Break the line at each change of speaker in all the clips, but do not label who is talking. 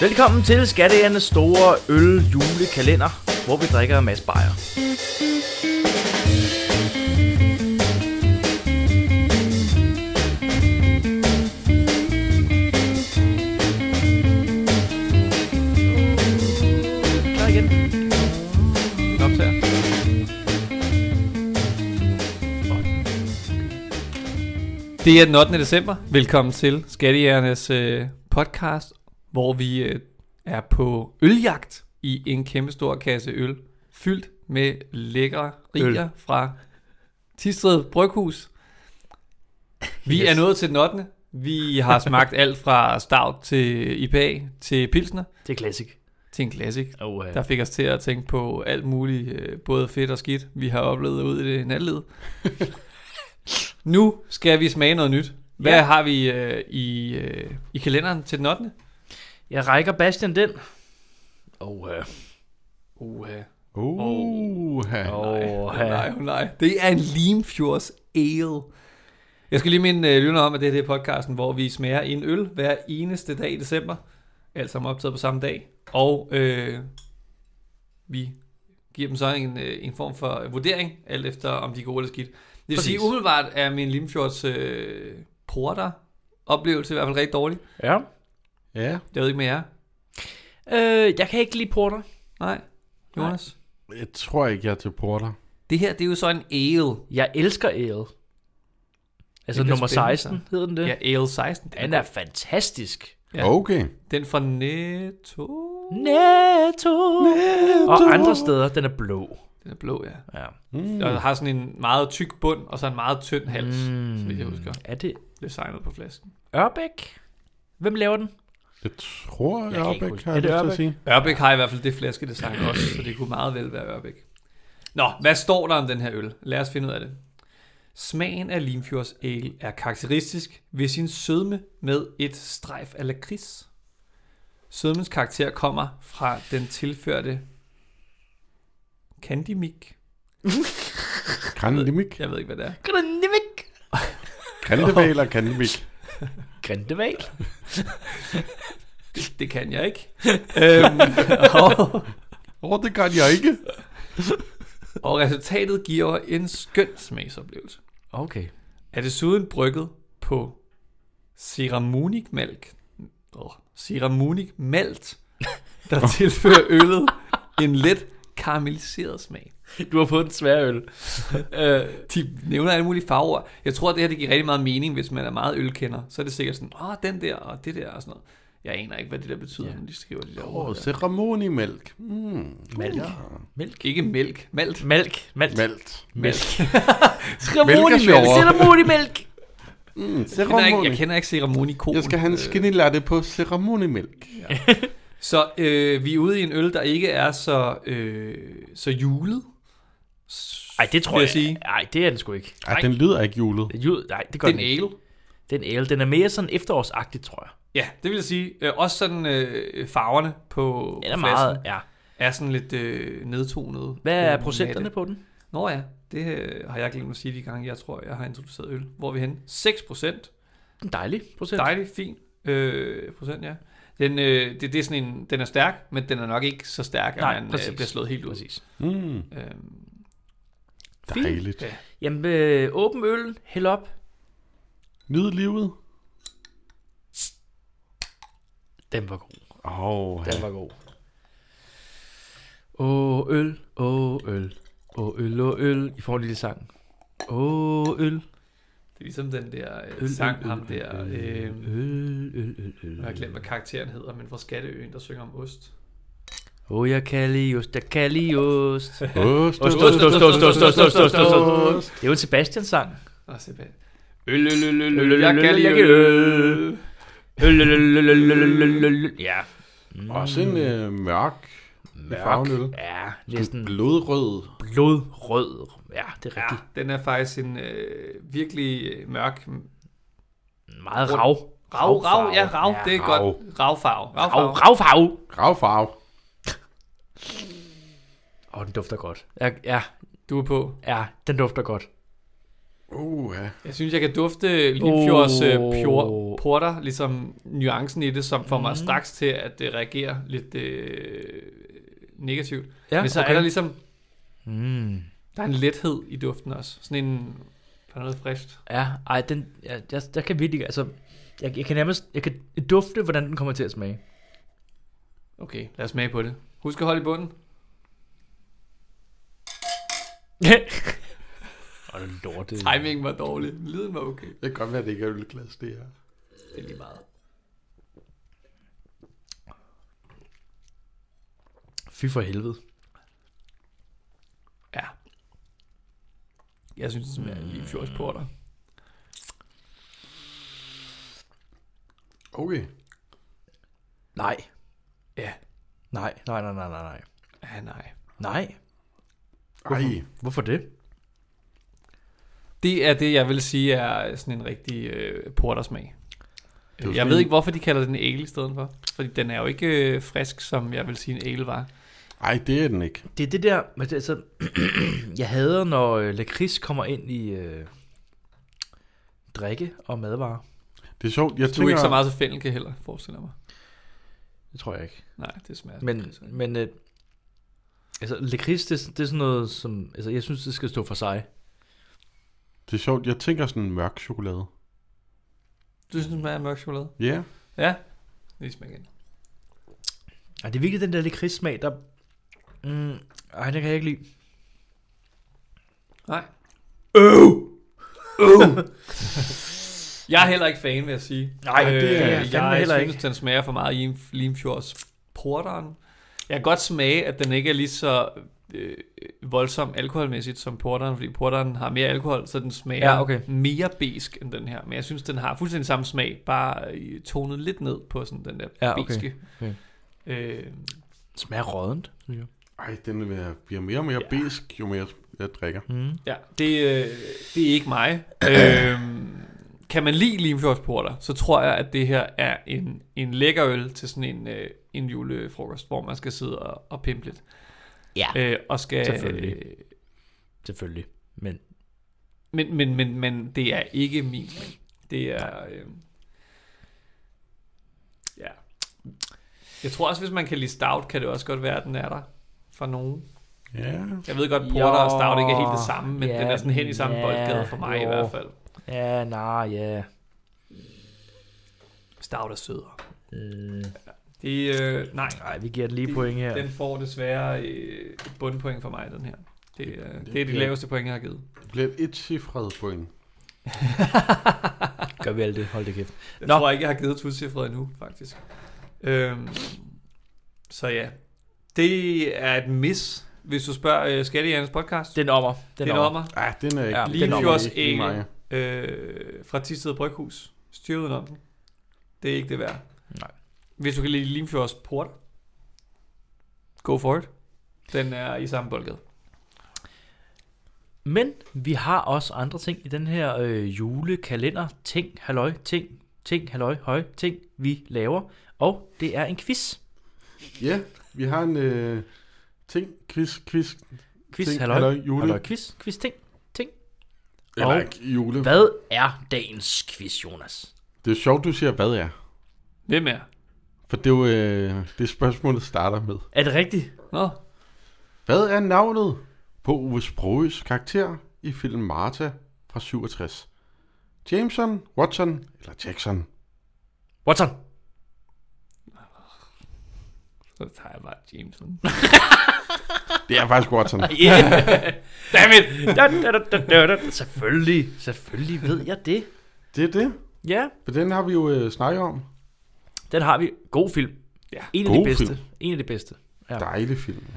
Velkommen til Skatteernes store øl julekalender, hvor vi drikker en masse bajer. Klar igen. Den optager.
Det er den 8. december. Velkommen til Skattejægernes øh, podcast, hvor vi øh, er på øljagt i en kæmpe stor kasse øl, fyldt med lækre riger
Øl.
fra Tisted Bryghus. Vi
Yes.
er nået til den 8. Vi har smagt alt fra stout til IPA til pilsner
Det er classic.
til en klassik.
Oh, uh,
Der fik os til at tænke på alt muligt, øh, både fedt og skidt, vi har oplevet ud i det natled. nu skal vi smage noget nyt. Hvad
Ja.
ja. har vi øh, i, øh, i kalenderen til den 8.
jeg rækker Bastian den. Og uh,
Uh,
Uh,
oh,
nej, oh, nej. Det er en Limfjords Ale. Jeg skal lige minde øh, lytterne om, at det her det er podcasten, hvor vi smager en øl hver eneste dag i december. Alt sammen optaget på samme dag. Og øh, vi giver dem så en, øh, en form for vurdering, alt efter om de er gode eller skidt. Det vil
Præcis.
sige, umiddelbart er min Limfjords øh, porter oplevelse i hvert fald rigtig dårlig.
Ja.
ja.
Jeg ved ikke med jer.
Øh, jeg kan ikke lide porter.
Nej, Jonas. Nej.
Jeg tror ikke, jeg er til porter.
Det her, det er jo så en ale.
Jeg elsker ale. Altså
Det kan
nummer
spænde
16 hedder den det.
Ja, ale 16. Den
Den
er,
er fantastisk.
Ja.
Ja. Okay.
den fra Netto.
Netto. Og andre steder, den er blå.
Den er blå, ja.
Ja.
Mm.
Og har sådan en meget tyk bund, og så en meget tynd hals, mm. så vidt jeg husker.
Er det
Designet på flasken.
Ørbæk? Hvem laver den?
Jeg tror,
Jeg
jeg,
kan
jeg
ikke
Ørbæk
huske-
har
Er
jeg
det
lyst til
Ørbæk?
at sige.
Ørbæk har i hvert fald det flaskedesign også, så det kunne meget vel være Ørbæk. Nå, hvad står der om den her øl? Lad os finde ud af det. Smagen af Limfjords ale er karakteristisk ved sin sødme med et strejf af lakrids. Sødmens karakter kommer fra den tilførte candymik.
Grandemik.
Jeg ved ikke, hvad det er.
Grindevik.
Grandeval og Grandemik.
Grindeval.
Det, det kan jeg ikke. øhm, og,
Åh, oh, det kan jeg ikke.
og resultatet giver en skøn smagsoplevelse.
Okay.
Er desuden brygget på ceramonic mælk. Oh, ceramonic malt, der tilfører øllet en let karamelliseret smag.
Du har fået en svær øl. øh,
De nævner alle mulige farver. Jeg tror, at det her det giver rigtig meget mening, hvis man er meget ølkender. Så er det sikkert sådan, åh, oh, den der og det der og sådan noget. Jeg aner ikke, hvad det der betyder,
Ja.
men de skriver det der
Åh,
ord.
oh,
der.
ceremonimælk. Mm.
Mælk.
Ja.
Ikke mælk, malt.
mælk. Mælk.
Malt.
Mælk.
sjovere.
Ceremonimælk.
Mm,
Jeg kender ikke, jeg
ceremoni.
kender ikke øh, ceremonikol.
Jeg skal have en skinny latte på ceremonimælk.
Så øh, vi er ude i en øl, der ikke er så, øh, så julet. S-
Ej, det tror
vil
jeg.
sige.
Ej, det er den sgu ikke.
Ej, Ah, den lyder ikke julet.
Jul, nej, det gør
Det
den,
er en ale.
Den ale, den er mere sådan efterårsagtig, tror jeg.
Ja, det vil jeg sige. Øh, også sådan øh, farverne på,
Den er
på
meget,
flasken
ja.
er sådan lidt øh, nedtonet. Øh,
Hvad er procenterne på den?
Nå ja, det øh, har jeg glemt at sige de gange, jeg tror, jeg har introduceret øl. Hvor er vi henne? 6 procent.
En dejlig procent.
Dejlig, fin øh, procent, ja. Den, øh, det, det er sådan en, den er stærk, men den er nok ikke så stærk, at
Nej,
man
præcis.
øh, bliver slået helt ud.
Præcis.
Mm.
Øhm,
Fint.
Dejligt.
Ja.
Jamen, øh, åben øl, hæld op.
Nyd livet.
Den var god.
Åh, oh,
Den var god. Åh, øl, åh, øl. Åh, øl, åh, øl. I får en lille sang. Åh, øl.
Det er ligesom den der øh,
øl,
sang,
øl,
ham
øl,
der,
øl,
øh,
Øl, øl, øl, øl.
jeg har glemt, hvad karakteren hedder, men fra Skatteøen, der synger om ost.
Åh, jeg kan lide ost, jeg kan lide ost.
Ost,
Ost, ost,
ost, ost,
ost, ost, ost, ost, ost, ost, ost,
ost.
ost. Det er jo en Sebastian-sang.
Og se bag. Øl, øl, øl, øl,
Øl, øl,
øl, jeg
øl,
kan
øl,
lide
jeg kan
øl.
Øl, øl, øl, øl, øl, øl, øl, øl, øl. Ja.
Også en øh, mørk, mørk.
Mørk. Ja,
Næsten.
næsten
Blodrød.
blodrød. Ja, det er
Ja,
rigtigt.
den er faktisk en øh, virkelig øh, mørk...
Meget rav.
Rav, rav, ja, rav,
Ja,
det er
rav.
godt. Ravfarve.
Rav, rav,
Ravfarve.
rav.
Gravfarve.
Åh, den dufter godt. Ja, ja,
Du er på.
ja, den dufter godt.
Uh, ja.
Jeg synes, jeg kan dufte Limfjords oh.
Åh.
pure porter, ligesom nuancen i det, som får mig straks til at øh, reagere lidt øh, negativt. Ja, Men så okay. er der ligesom,
Mm.
der er en lethed i duften også. Sådan en, der er noget frist.
Ja, ej, den, ja, jeg, jeg kan virkelig, altså, jeg, jeg kan nærmest, jeg kan dufte, hvordan den kommer til at smage.
Okay, lad os smage på det. Husk at holde i bunden.
Åh, det er lortet.
Timingen var dårlig. Lyden var okay.
Det kan godt være, det ikke er ølglas, det her.
Det er lige meget.
Fy for helvede.
Ja. Jeg synes, det smager lige fjords porter.
Okay.
Nej.
Ja.
Nej, nej, nej, nej, nej, nej.
Ja, nej.
Nej.
Ej,
Hvorfor det?
Det er det, jeg vil sige er sådan en rigtig øh, portersmag.
er jo
Jeg
sådan
ved
en-
ikke, hvorfor de kalder den ale i stedet for. Fordi den er jo ikke øh, frisk, som jeg vil sige en ale var.
ej, det er den ikke.
Det er det der, men det er altså, jeg hader, når øh, lakrids kommer ind i øh, drikke og madvarer.
Det er sjovt. Jeg
Du er
tænker,
ikke så meget til fændelke heller, forestiller jeg mig.
Det tror jeg ikke.
Nej, det smager
Men, men øh, altså, lakrids, det, det er sådan noget, som, altså, jeg synes, det skal stå for sig.
det er sjovt. Jeg tænker sådan en mørk chokolade.
Du synes, den smager af mørk chokolade?
Ja. Yeah.
Ja. Lige smag igen.
Ej, det er virkelig den der lakridssmag, der... Mm, ej, den kan jeg ikke lide.
Nej.
Øv!
Jeg er heller ikke fan, vil jeg sige. Øh,
Nej, det er jeg
jeg,
fandme
jeg
heller
synes, den smager for meget i Limfjords porteren. Jeg kan godt smage, at den ikke er lige så øh, voldsom alkoholmæssigt som porteren, fordi porteren har mere alkohol, så den smager
Ja, okay.
mere besk end den her. Men jeg synes, den har fuldstændig samme smag, bare øh, tonet lidt ned på sådan den der
Ja, okay.
beske.
Okay.
Øh,
Smager rådent, synes jeg.
Ej, den er- bliver mere og mere
Ja.
ja. besk, jo mere jeg drikker.
Mm.
ja, det, øh, det er ikke mig. øh, kan man lide Limfjordsporter, så tror jeg, at det her er en, en lækker øl til sådan en, øh, en julefrokost, hvor man skal sidde og, og pimpe lidt.
Ja,
Øh, og skal,
Selvfølgelig.
øh,
selvfølgelig. Men
men, men, men, men det er ikke min smag. Det er... Øh, ja. Jeg tror også, hvis man kan lide stout, kan det også godt være, at den er der for nogen.
Ja.
Jeg ved godt, porter og stout ikke er helt det
Jo,
samme, men
ja,
den er sådan hen i samme
ja,
boldgade for mig i
jo.
hvert fald.
ja, nej, ja.
Stout er sødere.
Mm.
Det, øh, nej,
Ej, vi giver den lige point her.
den får desværre øh, et bundpoint for mig, den her. Det, øh, det er de
det-
laveste point, jeg har givet.
Det bliver et etcifret point.
Gør vi alt det, hold det kæft.
Jeg
Nå.
Nå. tror ikke, jeg har givet tocifret endnu, faktisk. Øhm, så ja, det er et mis, hvis du spørger øh, Skattejernens podcast.
Den ommer. Den,
det er
ommer.
nummer.
Ej, den er ikke
Ja,
den er
Limfjords
ikke lige
ale.
mig.
Øh, fra Tisted Bryghus. Styr uden om den. Det er ikke det værd.
Nej.
Hvis du kan lide Limfjords Port, go for it. Den er i samme boldgade.
Men vi har også andre ting i den her øh, julekalender. Ting, halløj, ting, ting, halløj, høj, ting, vi laver. Og det er en quiz.
Ja, vi har en øh, ting, quiz, quiz,
Quiz,
ting,
halløj,
halløj, jule.
halløj, quiz, quiz, ting.
Eller
Og-
ikke jule.
Hvad er dagens quiz, Jonas?
Det er sjovt, du siger, hvad er.
Hvem er?
For det er jo øh, det spørgsmål, der starter med.
Er det rigtigt?
Nå,
Hvad er navnet på Ove Sprogøs karakter i filmen Martha fra 67? Jameson, Watson eller Jackson?
Watson.
så tager jeg bare Jameson.
Det er faktisk Watson.
Yeah. Damn it. Da, da, da, da, da, da. Selvfølgelig, selvfølgelig ved jeg det.
Det er det.
Ja,
For den har vi jo øh, snakket om.
den har vi. God film.
Ja.
En af
God
de bedste.
film.
En af de bedste. Ja.
Dejlig film. ja.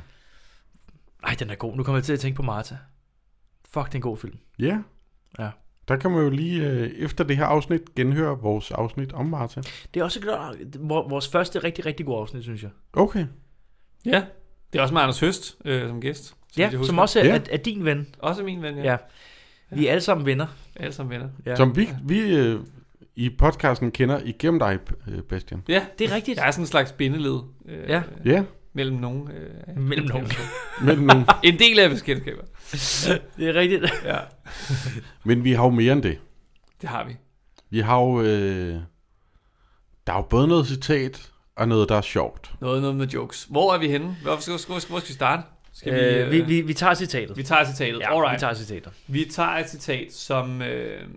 Nej, den er god. Nu kommer jeg til at tænke på Martha. Fuck, det er en god film.
Ja.
Ja.
Der kan man jo lige øh, efter det her afsnit genhøre vores afsnit om Martha.
Det er også klart, vor- vores første rigtig, rigtig gode afsnit, synes jeg.
Okay.
Ja, det er også med Anders Høst øh, som gæst. så vidt jeg
Ja,
husker.
som også er,
Ja.
er, er din ven.
Også min ven, ja.
Ja. Vi er alle sammen venner.
Alle sammen venner.
Ja.
Som vi, vi øh, i podcasten kender igennem dig, øh, Bastian.
Ja,
Det er rigtigt.
der er sådan en slags bindeled øh,
Ja.
Ja.
mellem nogen. Øh,
Mellem nogen.
Men, øh, nogle,
en del af vores kendskaber.
Det er rigtigt.
Ja,
men vi har jo mere end det.
det har vi.
Vi har jo... Øh, der er jo både noget citat og noget, der er sjovt.
Noget, noget med jokes. Hvor er vi henne? Hvor skal, hvor skal, hvor skal vi starte? Skal
Øh, vi, vi, vi tager citatet.
vi tager citatet. Ja, Alright.
vi tager citatet.
Vi tager et citat, som... Øh... Ah, det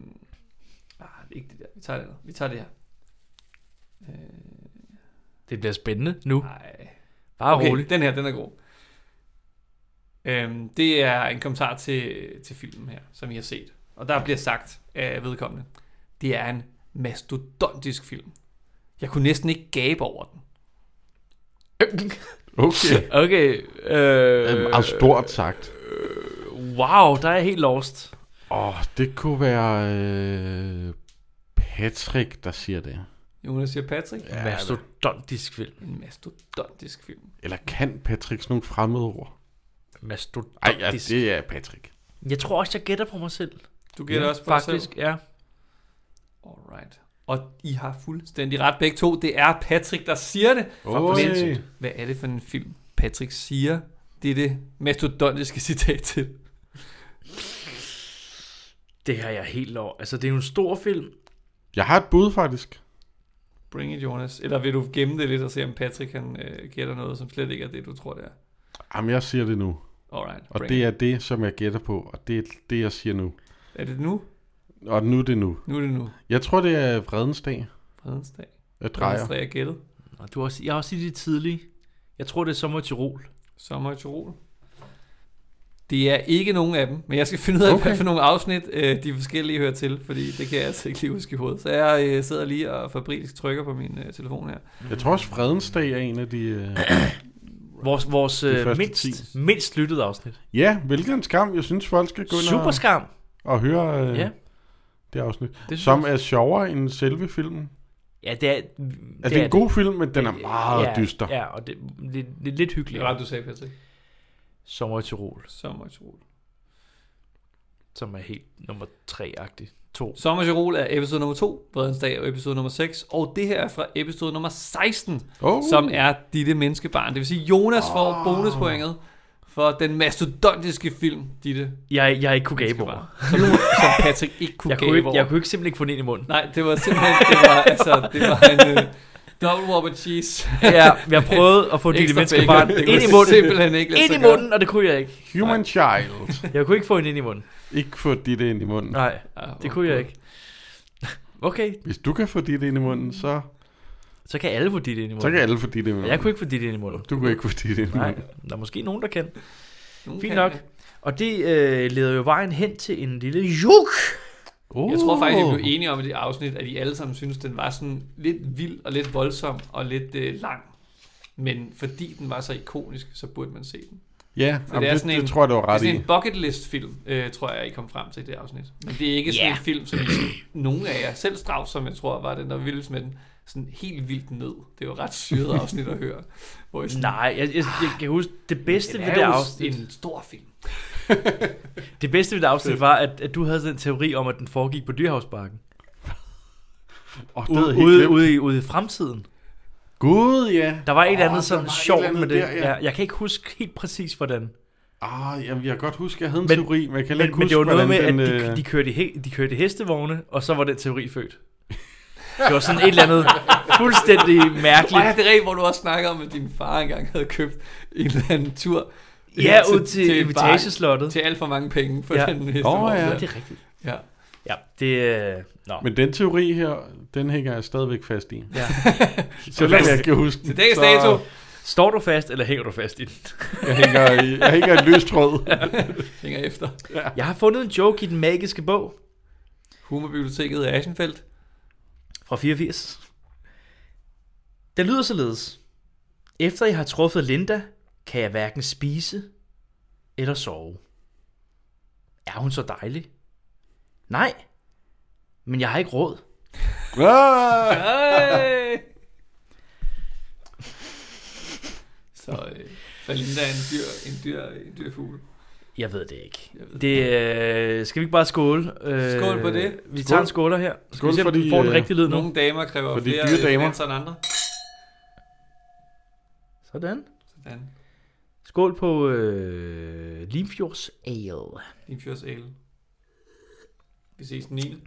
er ikke det der. Vi tager det, andet. vi tager det her. Øh...
Det bliver spændende nu.
Nej.
Bare okay.
okay,
roligt.
den her, den er god. Øhm, det er en kommentar til, til filmen her, som I har set. Og der bliver sagt af vedkommende, det er en mastodontisk film. Jeg kunne næsten ikke gabe over den.
Okay.
Okay. Øh,
Øh, altså stort sagt.
wow, der er jeg helt lost.
Åh, det kunne være øh, Patrick, der siger det.
Jonas siger Patrick.
Ja, Mastodontisk film.
En mastodontisk film.
Eller kan Patrick sådan nogle fremmede ord? Ej, ja,
Mastodontisk. Ej,
det er Patrick.
Jeg tror også, jeg gætter på mig selv.
Du gætter også på dig selv.
Faktisk, ja.
Alright. Og I har fuldstændig ret begge to. Det er Patrick, der siger det.
Oj.
Men hvad er det for en film, Patrick siger? Det er det mastodontiske citat til.
Det har jeg helt over. Altså, det er jo en stor film.
Jeg har et bud, faktisk.
Bring it, Jonas. Eller vil du gemme det lidt og se, om Patrick han, øh, gætter noget, som slet ikke er det, du tror, det er?
Jamen, jeg siger det nu.
Alright,
Og
bring
det
it.
er det, som jeg gætter på. Og det er det, jeg siger nu.
Er det nu?
Og nu er det nu.
Nu er det nu.
Jeg tror, det er Vredens dag,
Fredens dag.
jeg drejer.
Fredens dag er gættet.
Og du har også, jeg har også i det tidlige. Jeg tror, det er sommer i Tirol.
Sommer i Tirol. Det er ikke nogen af dem, men jeg skal finde ud af, okay.
Okay.
hvad for nogle afsnit øh, de forskellige hører til, fordi det kan jeg altså ikke lige huske i hovedet. Så jeg øh, sidder lige og fabrisk trykker på min øh, telefon her.
Jeg tror også, Fredens dag er en af de... Øh...
Vores, vores
Det er
øh,
første
mindst,
10.
mindst lyttede afsnit.
Ja, hvilken skam. Jeg synes, folk skal gå ind
Super
og,
skam.
og høre øh,
Ja.
ja. det afsnit.
Det synes
Som
jeg.
er sjovere end selve filmen.
Ja, det er... Altså,
Altså, det er en god film, men den er meget
ja,
dyster.
Ja, og det, det, det er lidt
Det
hyggeligt.
er ret, du sagde, Patrick.
Sommer i Tirol,
Sommer i Tirol.
som er helt nummer 3-agtig. To.
Sommer i Tirol er episode nummer 2, Bredens Dag er episode nummer 6, og det her er fra episode nummer 16,
Oh,
som er Ditte Menneskebarn. Det vil sige, Jonas får bonuspoinget for den mastodontiske film, Ditte
Jeg, jeg ikke kunne gabe over.
Menneskebarn, som, som Patrick ikke kunne
Jeg kunne,
gabe
ikke, jeg
over.
kunne ikke simpelthen ikke få den ind i munden.
Nej, det var simpelthen, det var, altså, det var en øh, double whopper cheese.
Ja, jeg prøvede at få dit
Ekstra
menneske
bacon.
barn
Det
ind i
kunne
munden.
Simpelthen ikke lade
Ind
sig
i
gøre.
munden, og det kunne jeg ikke.
Human Child.
Jeg kunne ikke få en ind i munden.
ikke få dit ind i munden.
Nej,
Ja,
det kunne jeg ikke. Okay,
Hvis du kan få dit ind i munden, så,
så kan alle få dit ind i munden.
så kan alle få dit ind i munden.
Jeg kunne ikke få dit ind i munden.
Du kunne ikke få dit ind i
Nej,
munden.
der er måske nogen, der kan.
Nogen
Fint
kan
nok.
det.
Og det øh, leder jo vejen hen til en lille juk.
Oh.
Jeg tror faktisk, at vi
Uh.
blev enige om i det afsnit, at I alle sammen synes, den var sådan lidt vild og lidt voldsom og lidt øh, lang. Men fordi den var så ikonisk, så burde man se den.
Ja,
Så
jamen,
det er
det,
sådan
det,
en-
det tror jeg, du var
Altså, Det er sådan
ret i.
en bucket list film, øh, tror jeg, I kom frem til i det afsnit. Men det er ikke sådan
Ja.
en film, som I- nogen af jer selv straf, som jeg tror var den, der vildes med den, sådan helt vildt ned. Det var ret syret afsnit at høre. Hvor I sådan,
Nej, jeg, jeg, jeg kan huske, det bedste
det
ved
er
det
jo
afsnit,
en stor film.
det bedste ved det afsnit var, at, at du havde den teori om, at den foregik på Dyrhavsparken.
Oh,
Ude, ude, ude, i, ude i fremtiden.
Gud, ja.
Der var et
Åh,
eller andet
der
sådan
var et
sjovt
eller
med
andet
det.
der, ja.
ja. jeg kan ikke huske helt præcis, hvordan.
Ah, jamen, jeg kan godt huske, jeg havde en
Men-
teori, men jeg kan heller
Men,
ikke
men
huske,
det var noget med,
hvordan
at
den,
de,
øh,
de, kørte i, he- de kørte i hestevogne, og så var den teori født. Det var sådan et eller andet fuldstændig
Ej, ja,
mærkeligt.
det er rigtigt, hvor du også snakkede om, at din far engang havde købt en eller anden tur.
Ja, ud til,
et
til
barn.
Invitageslottet.
til alt for mange penge for
Ja.
ja. den heste.
Åh, ja.
Ja, det er rigtigt.
ja.
Ja, det... Øh, nå.
Men den teori her, den hænger jeg stadigvæk fast i.
Ja.
Selvom jeg kan huske den.
Til dags
så
dato.
Står du fast, eller hænger du fast i den?
Jeg hænger, i- jeg hænger i løst tråd.
Hænger efter.
Jeg har fundet en joke i den magiske bog
Humorbiblioteket i Aschenfeldt.
fra 84. Den lyder således. Efter jeg har truffet Linda, kan jeg hverken spise eller sove. Er hun så dejlig? Nej, men jeg har ikke råd.
Ah!
Hey! så, øh, så Linda er en dyr, en dyr, en dyr fugl.
Jeg ved det ikke.
Jeg ved det
Det, øh, skal vi ikke bare skåle? Øh,
Skål på det.
Vi
Skål.
tager en skåler her. Skal
Skål
vi se, om
for
den
de,
får den
øh,
rigtige lyd nu.
Nogle damer kræver
For de
flere
dyre damer.
damer. end andre.
Sådan.
Så Sådan.
Skål på øh, Limfjords Ale.
Limfjords Ale. Vi ses den 9.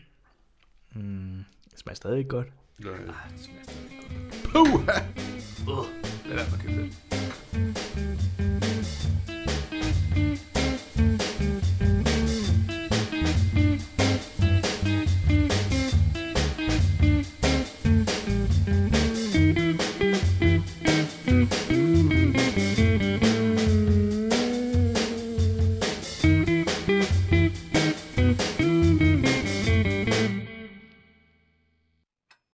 Mm, det smager stadig godt.
Nej.
Ah, det smager stadig godt.
Puh!
Lad være med at købe.